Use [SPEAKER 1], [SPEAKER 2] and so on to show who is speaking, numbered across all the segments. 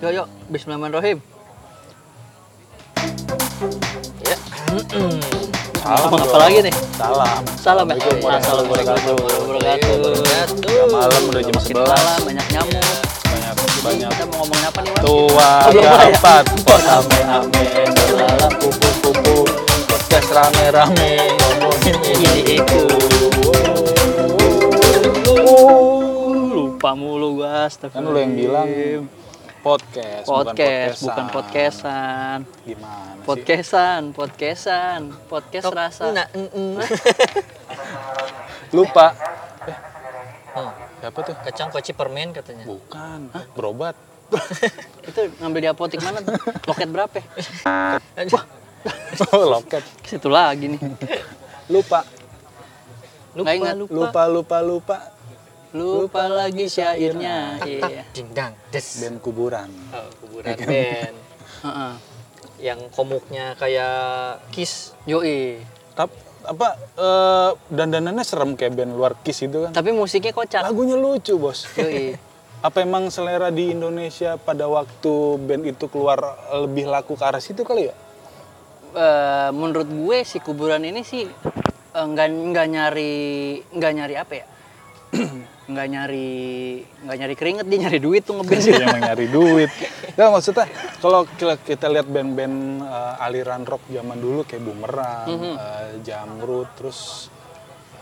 [SPEAKER 1] Yuk, yuk. Bismillahirrahmanirrahim. Ya. Salam apa lagi nih?
[SPEAKER 2] Salam.
[SPEAKER 1] Salam ya.
[SPEAKER 2] Assalamualaikum warahmatullahi
[SPEAKER 1] warahmatullahi wabarakatuh.
[SPEAKER 2] Udah malam, udah jam
[SPEAKER 1] Makin
[SPEAKER 2] 11.
[SPEAKER 1] malam, banyak nyamuk.
[SPEAKER 2] Banyak banyak.
[SPEAKER 1] Kita mau ngomongin apa nih, Wan?
[SPEAKER 2] Tua
[SPEAKER 1] Oh, belum ada.
[SPEAKER 2] dapat pot ame ame belalang kupu kupu podcast rame rame ngomongin ini itu.
[SPEAKER 1] Uh, Lupa mulu gua,
[SPEAKER 2] Kan lu yang bilang podcast,
[SPEAKER 1] podcast bukan
[SPEAKER 2] podcastan.
[SPEAKER 1] podcastan.
[SPEAKER 2] Gimana sih?
[SPEAKER 1] Podcastan, podcastan, podcast rasa.
[SPEAKER 2] Lupa. Eh,
[SPEAKER 1] oh.
[SPEAKER 2] siapa tuh?
[SPEAKER 3] kacang koci permen katanya
[SPEAKER 2] Bukan. Berobat.
[SPEAKER 1] Itu ngambil di apotek mana tuh? Loket berapa? ya?
[SPEAKER 3] Wah,
[SPEAKER 2] Oh, Loket.
[SPEAKER 1] Ke situ lagi nih.
[SPEAKER 2] Lupa.
[SPEAKER 1] Nggak ingat.
[SPEAKER 2] Lupa lupa lupa.
[SPEAKER 1] Lupa lagi syairnya. Iya.
[SPEAKER 3] dingdang des
[SPEAKER 2] Band kuburan.
[SPEAKER 3] Oh, kuburan band
[SPEAKER 1] Heeh.
[SPEAKER 3] yang komuknya kayak kiss
[SPEAKER 1] Yoi.
[SPEAKER 2] Tapi apa eh, dandanannya serem kayak band luar kiss itu kan.
[SPEAKER 1] Tapi musiknya kocak.
[SPEAKER 2] Lagunya lucu, Bos.
[SPEAKER 1] Yoi.
[SPEAKER 2] Apa emang selera di Indonesia pada waktu band itu keluar lebih laku ke arah situ kali ya?
[SPEAKER 1] Eh, menurut gue si kuburan ini sih eh, nggak nggak nyari nggak nyari apa ya? nggak nyari nggak nyari keringet dia nyari duit tuh ngeband sih.
[SPEAKER 2] Dia emang nyari duit. Nggak, maksudnya kalau kita- kita lihat band-band eh, aliran rock zaman dulu kayak Bumerang,
[SPEAKER 1] Mhm.
[SPEAKER 2] eh, Jamrut, terus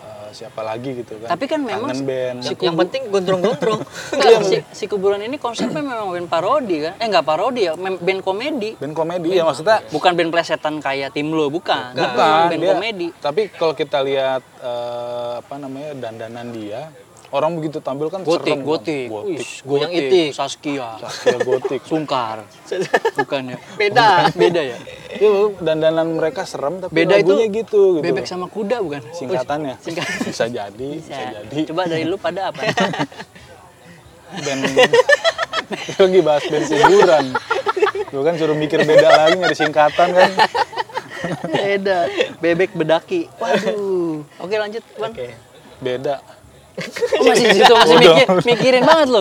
[SPEAKER 2] eh, siapa lagi gitu kan.
[SPEAKER 1] Tapi kan memang
[SPEAKER 2] Kangen band.
[SPEAKER 3] yang, yang penting gondrong-gondrong
[SPEAKER 1] Nggak, si, si kuburan ini konsepnya memang band parodi kan? Eh nggak parodi ya, mem- band komedi.
[SPEAKER 2] Band komedi ya maksudnya
[SPEAKER 1] Bukan band plesetan kayak tim lo, bukan. Tapi
[SPEAKER 2] Bukan,
[SPEAKER 1] band
[SPEAKER 2] dia-
[SPEAKER 1] komedi.
[SPEAKER 2] Tapi kalau kita lihat eh, apa namanya dandanan dia, orang begitu tampil kan
[SPEAKER 1] Gotik,
[SPEAKER 2] serem. kan.
[SPEAKER 1] gotik.
[SPEAKER 2] gotik.
[SPEAKER 1] Wih, goyang itik, Saskia,
[SPEAKER 2] Saskia gotik.
[SPEAKER 1] Sungkar. Bukan ya?
[SPEAKER 3] beda
[SPEAKER 1] Beda ya?
[SPEAKER 2] Iya, lu, dandanan mereka serem tapi
[SPEAKER 1] Beda itu
[SPEAKER 2] lagunya gitu, gitu.
[SPEAKER 1] Bebek Oh, sama kuda bukan?
[SPEAKER 2] singkatannya.
[SPEAKER 1] Singkatan.
[SPEAKER 2] Bisa jadi, bisa,
[SPEAKER 1] Ya.
[SPEAKER 2] jadi.
[SPEAKER 1] Coba dari lu pada apa?
[SPEAKER 2] Band lagi bahas band kuburan. Lu kan suruh mikir beda lagi nyari singkatan kan.
[SPEAKER 1] beda. Bebek bedaki. Waduh. Oke lanjut, Wan.
[SPEAKER 3] oke
[SPEAKER 2] Beda.
[SPEAKER 1] Oh, masih di situ masih
[SPEAKER 2] Bodoh.
[SPEAKER 1] mikir, mikirin banget lu.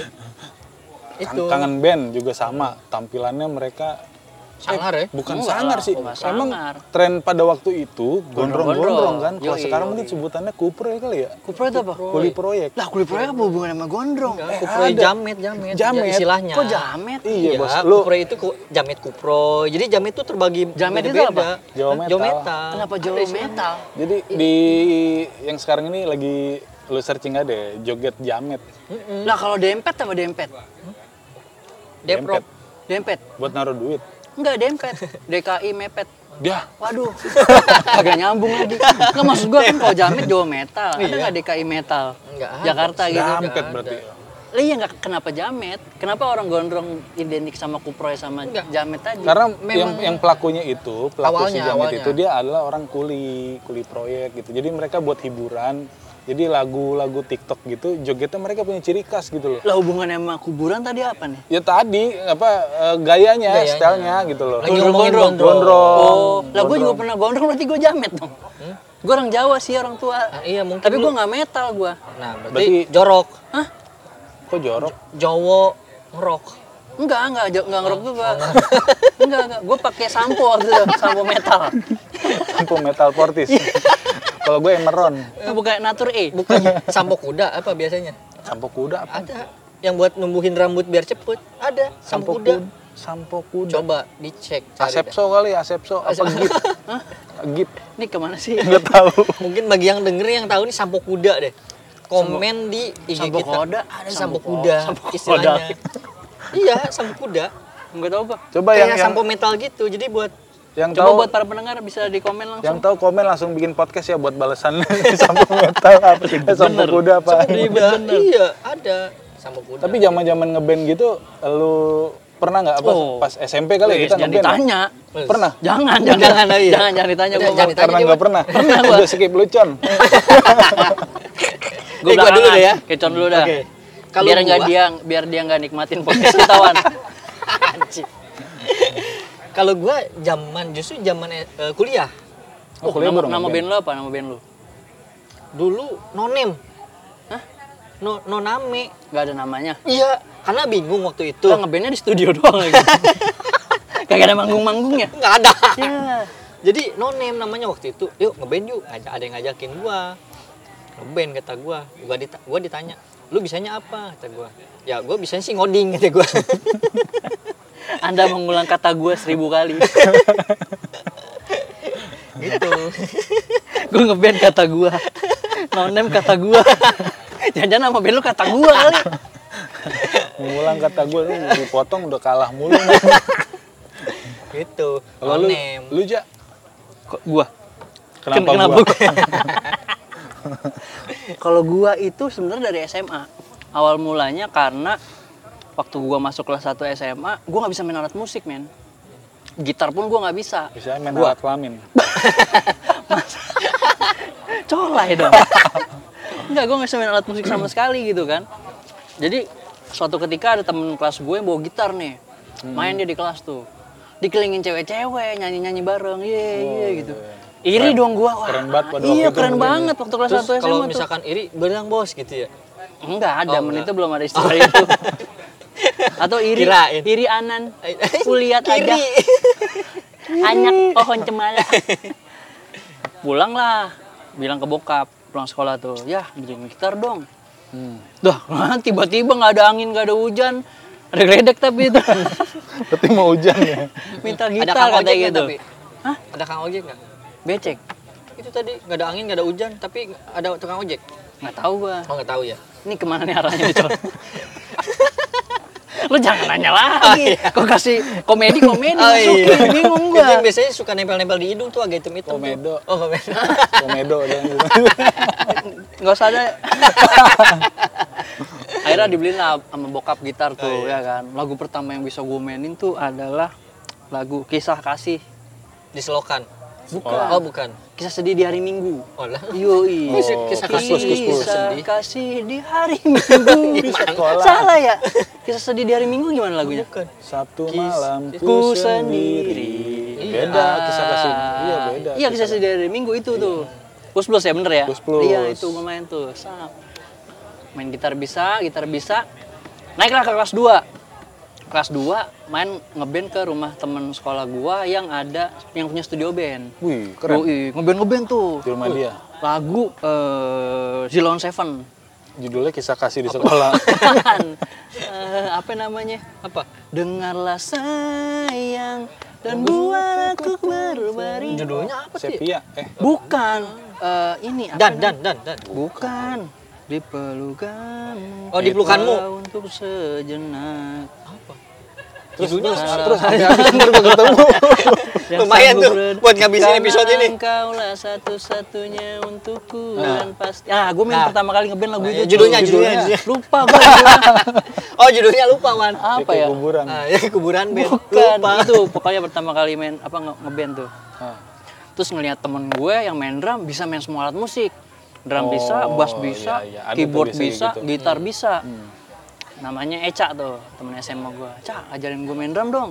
[SPEAKER 2] Kan-
[SPEAKER 3] itu
[SPEAKER 2] Kangen band juga sama, tampilannya mereka eh,
[SPEAKER 3] sangar ya
[SPEAKER 2] Bukan
[SPEAKER 1] Enggak
[SPEAKER 2] sangar
[SPEAKER 1] lah,
[SPEAKER 2] sih.
[SPEAKER 1] enggak
[SPEAKER 2] Emang
[SPEAKER 1] sangar.
[SPEAKER 2] tren pada waktu itu gondrong-gondrong kan. Kalau
[SPEAKER 1] Yoi,
[SPEAKER 2] sekarang
[SPEAKER 1] yoi.
[SPEAKER 2] mungkin sebutannya kupro ya kali ya.
[SPEAKER 1] Kupro itu apa?
[SPEAKER 2] Kuli proyek.
[SPEAKER 1] Lah kulit proyek apa hubungan sama gondrong?
[SPEAKER 2] Eh,
[SPEAKER 3] kuproy
[SPEAKER 2] ada.
[SPEAKER 3] jamet jamet
[SPEAKER 2] Jamet.
[SPEAKER 3] istilahnya
[SPEAKER 1] Eh, Kok jamet?
[SPEAKER 2] Iya,
[SPEAKER 3] Iya,
[SPEAKER 2] Bos. Lu
[SPEAKER 3] kuproy itu ku- jamet kupro. Jadi jamet itu terbagi
[SPEAKER 1] Jamet itu apa?
[SPEAKER 3] beda-beda.
[SPEAKER 2] Jawa metal.
[SPEAKER 3] metal.
[SPEAKER 1] Kenapa jauh metal?
[SPEAKER 2] jadi di yang sekarang ini lagi lu searching aja deh, joget jamet.
[SPEAKER 1] Lah kalau dempet sama dempet?
[SPEAKER 3] Deprok.
[SPEAKER 1] Dempet?
[SPEAKER 2] Dempet. Buat naruh duit.
[SPEAKER 1] Enggak dempet. DKI mepet.
[SPEAKER 2] Dah,
[SPEAKER 1] Waduh, agak nyambung lagi. Enggak maksud gua kan kalau jamet Jawa metal, ada nggak DKI metal?
[SPEAKER 3] Nggak ada.
[SPEAKER 1] Jakarta gitu.
[SPEAKER 2] jampet
[SPEAKER 3] kan.
[SPEAKER 2] berarti.
[SPEAKER 1] Lah iya nggak kenapa jamet? Kenapa orang gondrong identik sama kuproy sama
[SPEAKER 3] Nggak.
[SPEAKER 1] jamet tadi?
[SPEAKER 2] Karena yang yang pelakunya itu, pelaku si
[SPEAKER 3] Awalnya,
[SPEAKER 2] jamet
[SPEAKER 3] awalnya.
[SPEAKER 2] itu dia adalah orang kuli, kuli proyek gitu. Jadi mereka buat hiburan. Jadi lagu-lagu TikTok gitu, jogetnya mereka punya ciri khas gitu loh.
[SPEAKER 1] Lah hubungannya sama kuburan tadi apa nih?
[SPEAKER 2] Ya tadi apa eh, gayanya,
[SPEAKER 3] Gayanya.
[SPEAKER 2] stylenya gitu loh.
[SPEAKER 3] Lagi ngomongin
[SPEAKER 1] Gondrong.
[SPEAKER 3] gondrong.
[SPEAKER 1] Oh, lah gua juga pernah gondrong berarti gua jamet dong. Gua orang Jawa sih orang tua.
[SPEAKER 3] Ah, iya, mungkin
[SPEAKER 1] Tapi
[SPEAKER 3] lu-
[SPEAKER 1] gua nggak metal gua.
[SPEAKER 3] Nah,
[SPEAKER 2] Berarti-
[SPEAKER 3] berarti jorok,
[SPEAKER 2] Kok jorok?
[SPEAKER 3] Jowo, ngerok.
[SPEAKER 1] Enggak, enggak, enggak, enggak ngerok tuh gua. enggak, enggak. Gua pakai sampo waktu itu, sampo metal.
[SPEAKER 2] Sampo metal portis. Kalau gue emeron,
[SPEAKER 1] Bukan natur E.
[SPEAKER 3] Bukan sampo kuda apa biasanya?
[SPEAKER 2] sampo kuda apa?
[SPEAKER 3] Ada yang buat numbuhin rambut biar cepet. Ada sampo, kuda.
[SPEAKER 2] kud- Sampo kuda.
[SPEAKER 3] Coba dicek. cari dah.
[SPEAKER 2] Asepso kali, asepso apa gip? Gip,
[SPEAKER 1] Ini kemana sih?
[SPEAKER 2] nggak tahu.
[SPEAKER 3] Mungkin bagi yang denger yang tahu ini sampo kuda deh. Komen di IG
[SPEAKER 1] sampo
[SPEAKER 3] kita.
[SPEAKER 1] koda,
[SPEAKER 3] Ada
[SPEAKER 1] sampo
[SPEAKER 3] sampo
[SPEAKER 1] ko-
[SPEAKER 3] kuda
[SPEAKER 1] sampo koda.
[SPEAKER 3] istilahnya. iya, sampo kuda.
[SPEAKER 1] Enggak tahu gua.
[SPEAKER 2] Coba yang
[SPEAKER 3] Kayak
[SPEAKER 2] yang,
[SPEAKER 3] sampo metal gitu. Jadi buat
[SPEAKER 2] yang
[SPEAKER 1] Eh, ya, Coba
[SPEAKER 2] tahu
[SPEAKER 1] buat para pendengar bisa di komen
[SPEAKER 2] yang
[SPEAKER 1] langsung.
[SPEAKER 2] tahu komen langsung bikin podcast ya buat balasan sampo metal apa?
[SPEAKER 1] Iya,
[SPEAKER 2] Eh, sampo kuda apa?
[SPEAKER 3] kuda. Iya, ada sampo kuda.
[SPEAKER 2] Tapi zaman-zaman ngeband gitu, lu pernah nggak apa
[SPEAKER 1] Oh.
[SPEAKER 2] pas SMP kali ya
[SPEAKER 1] Wes,
[SPEAKER 2] kita
[SPEAKER 1] jangan
[SPEAKER 2] ngeband? ya?
[SPEAKER 1] ditanya.
[SPEAKER 2] Pernah?
[SPEAKER 1] Jangan, jangan, jangan,
[SPEAKER 3] Jangan, iya.
[SPEAKER 1] jangan, jangan ditanya. Gua,
[SPEAKER 3] Jangan
[SPEAKER 1] gua,
[SPEAKER 3] ditanya.
[SPEAKER 2] Karena nggak pernah.
[SPEAKER 1] Pernah gua.
[SPEAKER 2] Udah skip lucon.
[SPEAKER 1] gua,
[SPEAKER 3] Eh, gua dulu
[SPEAKER 1] belakangan.
[SPEAKER 3] deh ya.
[SPEAKER 1] Kecon dulu dah.
[SPEAKER 3] Oke. Kalau
[SPEAKER 1] biar nggak
[SPEAKER 3] gua-
[SPEAKER 1] dia, biar dia nggak nikmatin podcast kita wan.
[SPEAKER 3] Anjing. Kalau gua zaman justru zaman eh, kuliah
[SPEAKER 1] Oh,
[SPEAKER 2] Oh, kuliah
[SPEAKER 1] nama,
[SPEAKER 2] baru
[SPEAKER 1] nama
[SPEAKER 2] ngeband.
[SPEAKER 1] band lo apa? Nama band lo?
[SPEAKER 3] dulu nonem. Hah? No noname.
[SPEAKER 1] Gak ada namanya.
[SPEAKER 3] Iya, Karena bingung waktu itu.
[SPEAKER 1] Tuh ngebandnya di studio doang lagi. Kagak ada manggung-manggungnya.
[SPEAKER 3] Nggak ada.
[SPEAKER 1] Ya.
[SPEAKER 3] Jadi no name namanya waktu itu. Yuk ngeband yuk. Ngajak ada yang ngajakin gua. Ngeband kata gua. Gua, dita- gua ditanya, "Lu bisanya apa?" kata gua. Ya, gua bisanya sih ngoding kata gua.
[SPEAKER 1] Anda mengulang kata gue seribu kali.
[SPEAKER 3] gitu.
[SPEAKER 1] gue ngeband kata gue. No name kata gue. Jangan-jangan sama band lu kata gue kali.
[SPEAKER 2] Mengulang kata gue lu dipotong udah kalah mulu.
[SPEAKER 3] gitu. No
[SPEAKER 2] Kalau lu,
[SPEAKER 3] name.
[SPEAKER 2] lu ja,
[SPEAKER 1] Kok gue?
[SPEAKER 2] kenapa,
[SPEAKER 1] Ken-
[SPEAKER 2] gua?
[SPEAKER 1] gua? Kalau gua itu sebenarnya dari SMA. Awal mulanya karena waktu gua masuk kelas 1 SMA, gua nggak bisa main alat musik, men. Gitar pun gua nggak bisa.
[SPEAKER 2] Bisa main
[SPEAKER 1] Gua-
[SPEAKER 2] alat kelamin.
[SPEAKER 1] colai dong. Enggak, gue nggak bisa main alat musik sama sekali gitu kan. Jadi suatu ketika ada temen kelas gue yang bawa gitar nih,
[SPEAKER 2] Hmm.
[SPEAKER 1] main dia di kelas tuh, dikelilingin cewek-cewek nyanyi-nyanyi bareng, ye ye gitu. Iri dong gue, wah.
[SPEAKER 2] Oh, iya, Keren banget pada
[SPEAKER 1] iya
[SPEAKER 2] waktu itu
[SPEAKER 1] keren
[SPEAKER 2] mungkin.
[SPEAKER 1] banget waktu kelas
[SPEAKER 3] Terus
[SPEAKER 1] 1 SMA
[SPEAKER 3] kalau
[SPEAKER 1] tuh.
[SPEAKER 3] misalkan iri, bilang bos gitu ya.
[SPEAKER 1] Enggak, ada
[SPEAKER 3] Oh,
[SPEAKER 1] men
[SPEAKER 3] enggak.
[SPEAKER 1] itu belum ada istilah itu. Atau iri
[SPEAKER 3] Kirain.
[SPEAKER 1] iri anan. Kulihat aja.
[SPEAKER 3] Kiri.
[SPEAKER 1] Anyak pohon cemala. Pulang lah. Bilang ke bokap, pulang sekolah tuh. Yah, beliin gitar dong.
[SPEAKER 2] Hmm.
[SPEAKER 1] Dah, tiba-tiba nggak ada angin, nggak ada hujan. Ada geledek tapi itu.
[SPEAKER 2] Tapi mau hujan ya.
[SPEAKER 1] Minta
[SPEAKER 3] Ada
[SPEAKER 1] gitar
[SPEAKER 3] kang
[SPEAKER 1] kata
[SPEAKER 3] ojek nggak
[SPEAKER 1] gitu.
[SPEAKER 3] tapi?
[SPEAKER 1] Hah?
[SPEAKER 3] Ada kang ojek nggak?
[SPEAKER 1] Becek.
[SPEAKER 3] Itu tadi nggak ada angin, nggak ada hujan, tapi ada tukang ojek.
[SPEAKER 1] Nggak tahu gua.
[SPEAKER 3] Oh nggak tahu ya.
[SPEAKER 1] Ini kemana nih arahnya nih, Col? Lu jangan nanya lagi. Kok kasih komedi-komedi
[SPEAKER 3] Oh, iya.
[SPEAKER 1] masukin, bingung
[SPEAKER 3] Itu
[SPEAKER 1] gua.
[SPEAKER 3] yang biasanya suka nempel-nempel di hidung tuh agak hitam-hitam. tuh.
[SPEAKER 2] Komedo.
[SPEAKER 3] Oh komedo.
[SPEAKER 2] Komedo dan gitu.
[SPEAKER 1] nggak usah ada akhirnya dibeliin lah sama bokap gitar tuh ya kan lagu pertama yang bisa gue mainin tuh adalah lagu kisah kasih
[SPEAKER 3] Diselokan.
[SPEAKER 1] bukan
[SPEAKER 3] Oh bukan.
[SPEAKER 1] kisah sedih di hari minggu
[SPEAKER 3] Oh lah.
[SPEAKER 1] Yoi,
[SPEAKER 2] Oh,
[SPEAKER 1] kisah
[SPEAKER 2] kus, kus, kus.
[SPEAKER 1] kisah
[SPEAKER 3] Sedih.
[SPEAKER 1] kasih di hari minggu
[SPEAKER 2] Di sekolah.
[SPEAKER 1] salah ya kisah sedih di hari minggu gimana lagunya
[SPEAKER 3] Bukan.
[SPEAKER 2] Sabtu
[SPEAKER 3] Kis-
[SPEAKER 2] malam
[SPEAKER 1] ku
[SPEAKER 2] ku sendiri.
[SPEAKER 1] sendiri.
[SPEAKER 2] Beda
[SPEAKER 1] Ah.
[SPEAKER 2] kisah kasih. Iya beda. Iya.
[SPEAKER 1] Iya kisah sedih dari minggu itu tuh. Plus plus ya bener ya?
[SPEAKER 2] Plus plus.
[SPEAKER 1] Iya itu gue main tuh. Sap. Main gitar bisa, gitar bisa. Naiklah ke kelas 2. Kelas 2 main ngeband ke rumah temen sekolah gua yang ada yang punya studio band.
[SPEAKER 2] Wih, keren.
[SPEAKER 1] Yoi, ngeband ngeband tuh.
[SPEAKER 2] Di rumah dia.
[SPEAKER 1] Lagu eh Zilon Seven.
[SPEAKER 2] Judulnya kisah kasih di sekolah.
[SPEAKER 1] Apaan? Eh, apa namanya?
[SPEAKER 3] Apa?
[SPEAKER 1] Dengarlah sayang dan buat aku berbaring.
[SPEAKER 3] Judulnya apa sih?
[SPEAKER 2] Sepia. Eh,
[SPEAKER 1] Bukan eh, ini apa
[SPEAKER 3] Dan
[SPEAKER 1] namanya?
[SPEAKER 3] dan dan dan.
[SPEAKER 1] bukan di pelukanmu.
[SPEAKER 3] Oh, di pelukanmu.
[SPEAKER 1] Walau Untuk sejenak.
[SPEAKER 3] Apa?
[SPEAKER 2] terus
[SPEAKER 3] Judulnya
[SPEAKER 2] terus,
[SPEAKER 3] apa?
[SPEAKER 2] terus sampai habis ntar gua ketemu.
[SPEAKER 3] Lumayan tuh
[SPEAKER 1] sanggup red-
[SPEAKER 3] buat ngabisin
[SPEAKER 1] karena
[SPEAKER 3] episode ini.
[SPEAKER 1] Engkaulah satu-satunya untukku dan pasti. Ah, gue main
[SPEAKER 3] Nah.
[SPEAKER 1] pertama kali ngeband lagu
[SPEAKER 3] Nah,
[SPEAKER 1] itu.
[SPEAKER 3] ya, judulnya,
[SPEAKER 1] tuh.
[SPEAKER 3] judulnya, judulnya.
[SPEAKER 1] Lupa ya? gue.
[SPEAKER 3] Oh judulnya lupa Wan.
[SPEAKER 2] Dia
[SPEAKER 1] apa
[SPEAKER 2] kayak
[SPEAKER 1] ya?
[SPEAKER 2] Kuburan.
[SPEAKER 3] Ah, ya, kuburan band.
[SPEAKER 1] Bukan
[SPEAKER 3] Lupa.
[SPEAKER 1] itu pokoknya pertama kali main apa nge- ngeband tuh.
[SPEAKER 2] Ah.
[SPEAKER 1] Terus ngelihat temen gue yang main drum bisa main semua alat musik. Drum
[SPEAKER 2] Oh,
[SPEAKER 1] bisa, bass bisa,
[SPEAKER 2] iya, iya. Ada tuh
[SPEAKER 1] keyboard
[SPEAKER 2] biasanya
[SPEAKER 1] bisa,
[SPEAKER 2] gitu.
[SPEAKER 1] gitar bisa. Namanya Eca tuh temen SMA gue. Ca, ajarin gue main drum dong.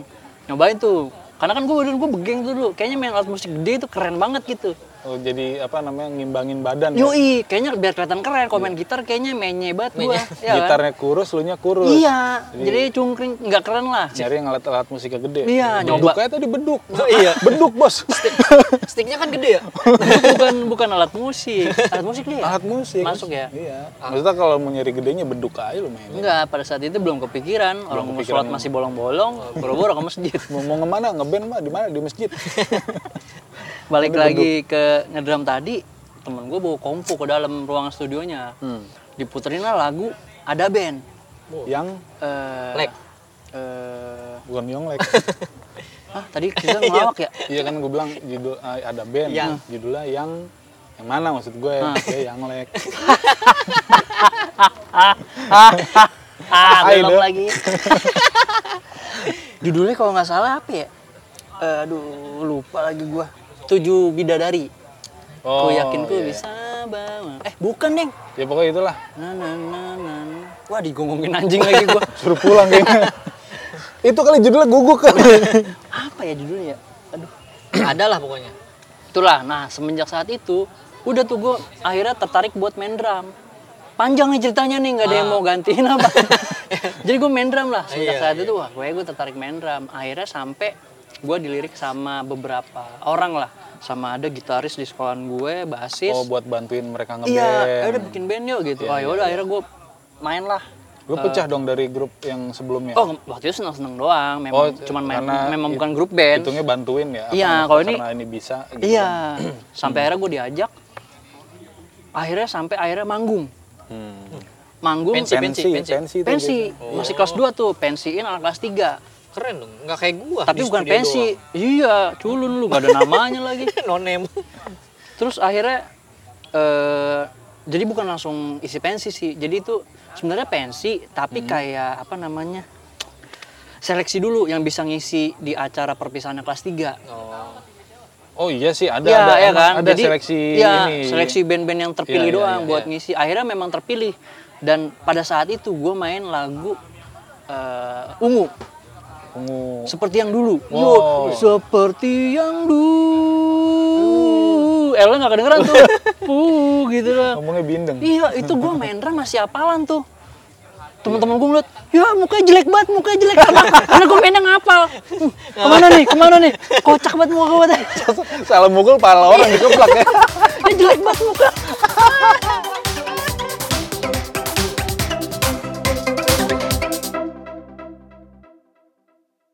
[SPEAKER 1] Nyobain tuh. Karena kan gue dulu gue begeng tuh dulu. Kayaknya main alat musik gede itu keren banget gitu.
[SPEAKER 2] Oh, jadi apa namanya ngimbangin badan ya?
[SPEAKER 1] Yoi, kayaknya biar kelihatan keren. Kalau
[SPEAKER 2] Iya.
[SPEAKER 1] main gitar kayaknya mainnya banget gue.
[SPEAKER 2] Gitarnya kurus, lu nya kurus.
[SPEAKER 1] kan? Iya, jadi cungkring nggak keren lah.
[SPEAKER 2] Nyari yang alat-alat musiknya gede.
[SPEAKER 1] Iya,
[SPEAKER 2] beduk
[SPEAKER 1] nyoba.
[SPEAKER 2] kayak tadi beduk.
[SPEAKER 3] Oh, iya.
[SPEAKER 2] Beduk, Bos.
[SPEAKER 3] Sticknya kan gede ya.
[SPEAKER 1] bukan bukan alat musik alat musik dia ya?
[SPEAKER 2] alat musik.
[SPEAKER 1] masuk ya
[SPEAKER 2] Iya. Maksudnya kalau mau nyari gedenya beduk aja lu mainin.
[SPEAKER 1] enggak pada saat itu belum kepikiran orang mau
[SPEAKER 2] kepikiran. Oh.
[SPEAKER 1] sholat masih bolong-bolong boro-boro ke masjid
[SPEAKER 2] Mau, mau kemana? Ngeband mah di mana? Di masjid.
[SPEAKER 1] balik lagi ke ngedram tadi temen gue bawa kompo ke dalam ruangan studionya
[SPEAKER 2] Hmm.
[SPEAKER 1] diputerin lah lagu ada band
[SPEAKER 2] yang
[SPEAKER 1] Eh,
[SPEAKER 3] Lek.
[SPEAKER 1] eh,
[SPEAKER 2] bukan Yonglek.
[SPEAKER 1] ah tadi kita ngelawak ya
[SPEAKER 2] iya kan gue bilang judul ah, ada band
[SPEAKER 3] Yang.
[SPEAKER 2] judulnya yang yang mana maksud gue? Ya yang lek.
[SPEAKER 1] ah
[SPEAKER 2] Ayo,
[SPEAKER 1] belok
[SPEAKER 2] Dok.
[SPEAKER 1] lagi judulnya kalau nggak salah apa ya Eh, aduh lupa lagi gue tujuh bidadari ku
[SPEAKER 2] Oh,
[SPEAKER 1] yakin ku
[SPEAKER 2] iya.
[SPEAKER 1] bisa bawa eh bukan neng
[SPEAKER 2] Ya pokoknya itulah.
[SPEAKER 1] na na na na na. wah digonggongin anjing lagi gua
[SPEAKER 2] Suruh pulang kayaknya. Itu kali judulnya guguk kan.
[SPEAKER 1] apa ya judulnya ya? aduh
[SPEAKER 3] Ada lah pokoknya.
[SPEAKER 1] itulah nah semenjak saat itu udah tuh gua akhirnya tertarik buat main drum panjang nih ceritanya nih nggak ada
[SPEAKER 2] Ah.
[SPEAKER 1] yang mau gantiin apa jadi gue main drum lah sejak
[SPEAKER 3] Iya,
[SPEAKER 1] saat itu wah gue gue tertarik main drum akhirnya sampai gue dilirik sama beberapa orang lah sama ada gitaris di sekolahan gue basis
[SPEAKER 2] Oh buat bantuin mereka ngeband.
[SPEAKER 1] iya
[SPEAKER 2] iya,
[SPEAKER 1] udah bikin band yuk gitu ah yaudah akhirnya gue main lah
[SPEAKER 2] Lu pecah dong dari grup yang
[SPEAKER 1] Eh.
[SPEAKER 2] sebelumnya.
[SPEAKER 1] oh waktu itu seneng seneng doang
[SPEAKER 2] Iya.
[SPEAKER 1] memang
[SPEAKER 2] Oh,
[SPEAKER 1] cuman main,
[SPEAKER 2] karena
[SPEAKER 1] memang
[SPEAKER 2] it-
[SPEAKER 1] bukan grup band
[SPEAKER 2] Hitungnya bantuin ya. apa-
[SPEAKER 1] Iya,
[SPEAKER 2] apa
[SPEAKER 1] kalau ini-
[SPEAKER 2] karena ini bisa. gitu kan.
[SPEAKER 1] Iya, sampai akhirnya gue diajak. Akhirnya sampai akhirnya manggung.
[SPEAKER 2] Hmm.
[SPEAKER 1] Manggung
[SPEAKER 3] Pensi, pensi,
[SPEAKER 2] pensi.
[SPEAKER 3] pensi.
[SPEAKER 2] Pensi itu
[SPEAKER 1] pensi. Masih kelas 2 tuh, pensiin anak kelas 3.
[SPEAKER 3] Keren dong, nggak kayak gua.
[SPEAKER 1] Tapi
[SPEAKER 3] di
[SPEAKER 1] bukan
[SPEAKER 3] studio
[SPEAKER 1] pensi. Iya, culun lu gak ada namanya lagi.
[SPEAKER 3] doang. No name.
[SPEAKER 1] Terus akhirnya eh jadi bukan langsung isi pensi sih. Jadi itu sebenarnya pensi tapi
[SPEAKER 2] Hmm.
[SPEAKER 1] kayak apa namanya? Seleksi dulu yang bisa ngisi di acara perpisahan kelas 3.
[SPEAKER 3] Oh.
[SPEAKER 2] Oh iya sih ada
[SPEAKER 1] Iya,
[SPEAKER 2] ada
[SPEAKER 1] ya
[SPEAKER 2] emang
[SPEAKER 1] kan?
[SPEAKER 2] ada
[SPEAKER 1] Jadi,
[SPEAKER 2] seleksi
[SPEAKER 1] iya,
[SPEAKER 2] ini.
[SPEAKER 1] seleksi band-band yang terpilih
[SPEAKER 2] Iya, iya,
[SPEAKER 1] doang
[SPEAKER 2] iya,
[SPEAKER 1] buat
[SPEAKER 3] iya.
[SPEAKER 1] ngisi. Akhirnya memang terpilih. Dan pada saat itu gue main lagu eh, ungu
[SPEAKER 2] Ungu.
[SPEAKER 1] seperti yang dulu.
[SPEAKER 2] Wow.
[SPEAKER 1] Yo, seperti yang dulu. Eh lo nggak kedengeran tuh. Puh gitu lah.
[SPEAKER 2] Ngomongnya bindeng.
[SPEAKER 1] Iya, itu gue main drum masih apalan tuh. Teman-teman gue ngeliat, ya mukanya jelek banget, mukanya jelek banget. Karena gue mainnya ngapal. Hmm, Kemana nih, kemana nih? Kocak banget muka gue.
[SPEAKER 2] Salah mukul pala orang dikeplak ya.
[SPEAKER 1] Ini jelek banget muka.